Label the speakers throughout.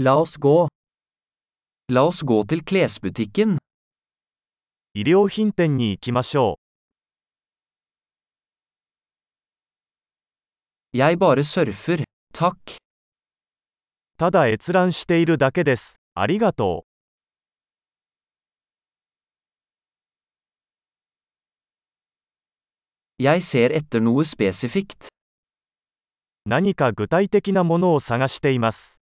Speaker 1: La oss gå. La oss gå til klesbutikken.
Speaker 2: 衣料品店に行きましょ
Speaker 1: Jeg bare surfer. Takk.
Speaker 2: う。ただ閲覧しているだけです。ありがと
Speaker 1: Jeg ser etter noe spesifikt.
Speaker 2: う。何か具体的なものを探しています。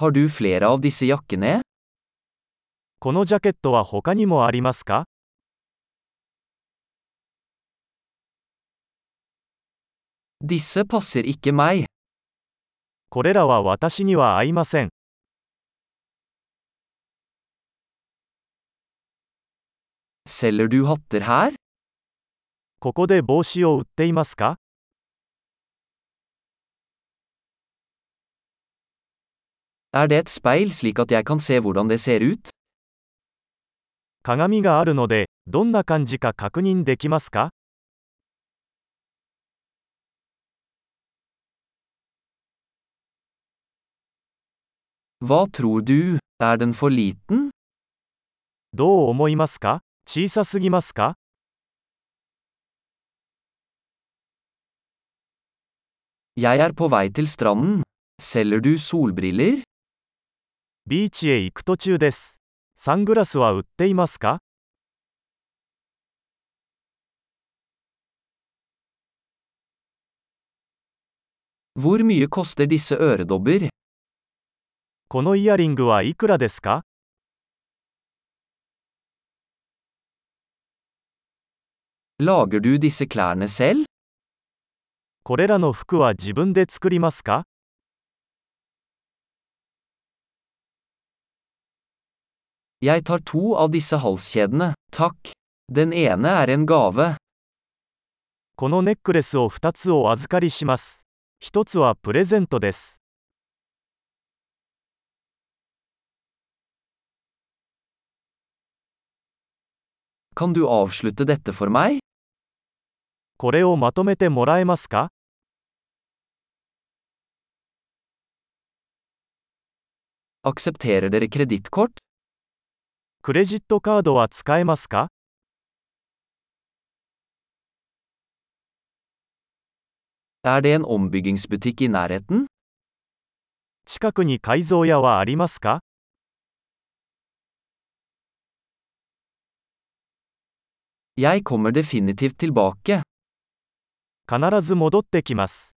Speaker 1: Har du flere av disse jakkene?
Speaker 2: このジャケットは他にもありますか
Speaker 1: Disse passer ikke meg.
Speaker 2: これらは私には合いません。
Speaker 1: Selger du hatter her?
Speaker 2: ここで帽子を売っていますか
Speaker 1: Er det et speil slik at jeg kan se hvordan det ser ut?
Speaker 2: 鏡があるので、どんな感じか確認できますか
Speaker 1: Hva tror du? Er den for liten?
Speaker 2: どう思いますか小さすぎますか
Speaker 1: Jeg er på vei til stranden. Selger du solbriller?
Speaker 2: ビーチへ行く途中です。サングラスは売っていますか
Speaker 1: Hvor mye koster disse øredobber?
Speaker 2: このイヤリングはいくらですか
Speaker 1: Lager du disse klærne selv?
Speaker 2: これらの服は自分で作りますか
Speaker 1: Jeg tar to av disse halskjedene, takk. Den ene er en gave.
Speaker 2: このネックレスを2つお預かりします。1つはプレゼントです。
Speaker 1: Kan du avslutte dette for meg?
Speaker 2: これをまとめてもらえますか
Speaker 1: Aksepterer dere kredittkort?
Speaker 2: クレジットカードは使えますか
Speaker 1: Er det en ombyggingsbutikk i nærheten?
Speaker 2: 近くに改造屋はありますか
Speaker 1: Jeg kommer definitivt tilbake.
Speaker 2: 必ず戻ってきます。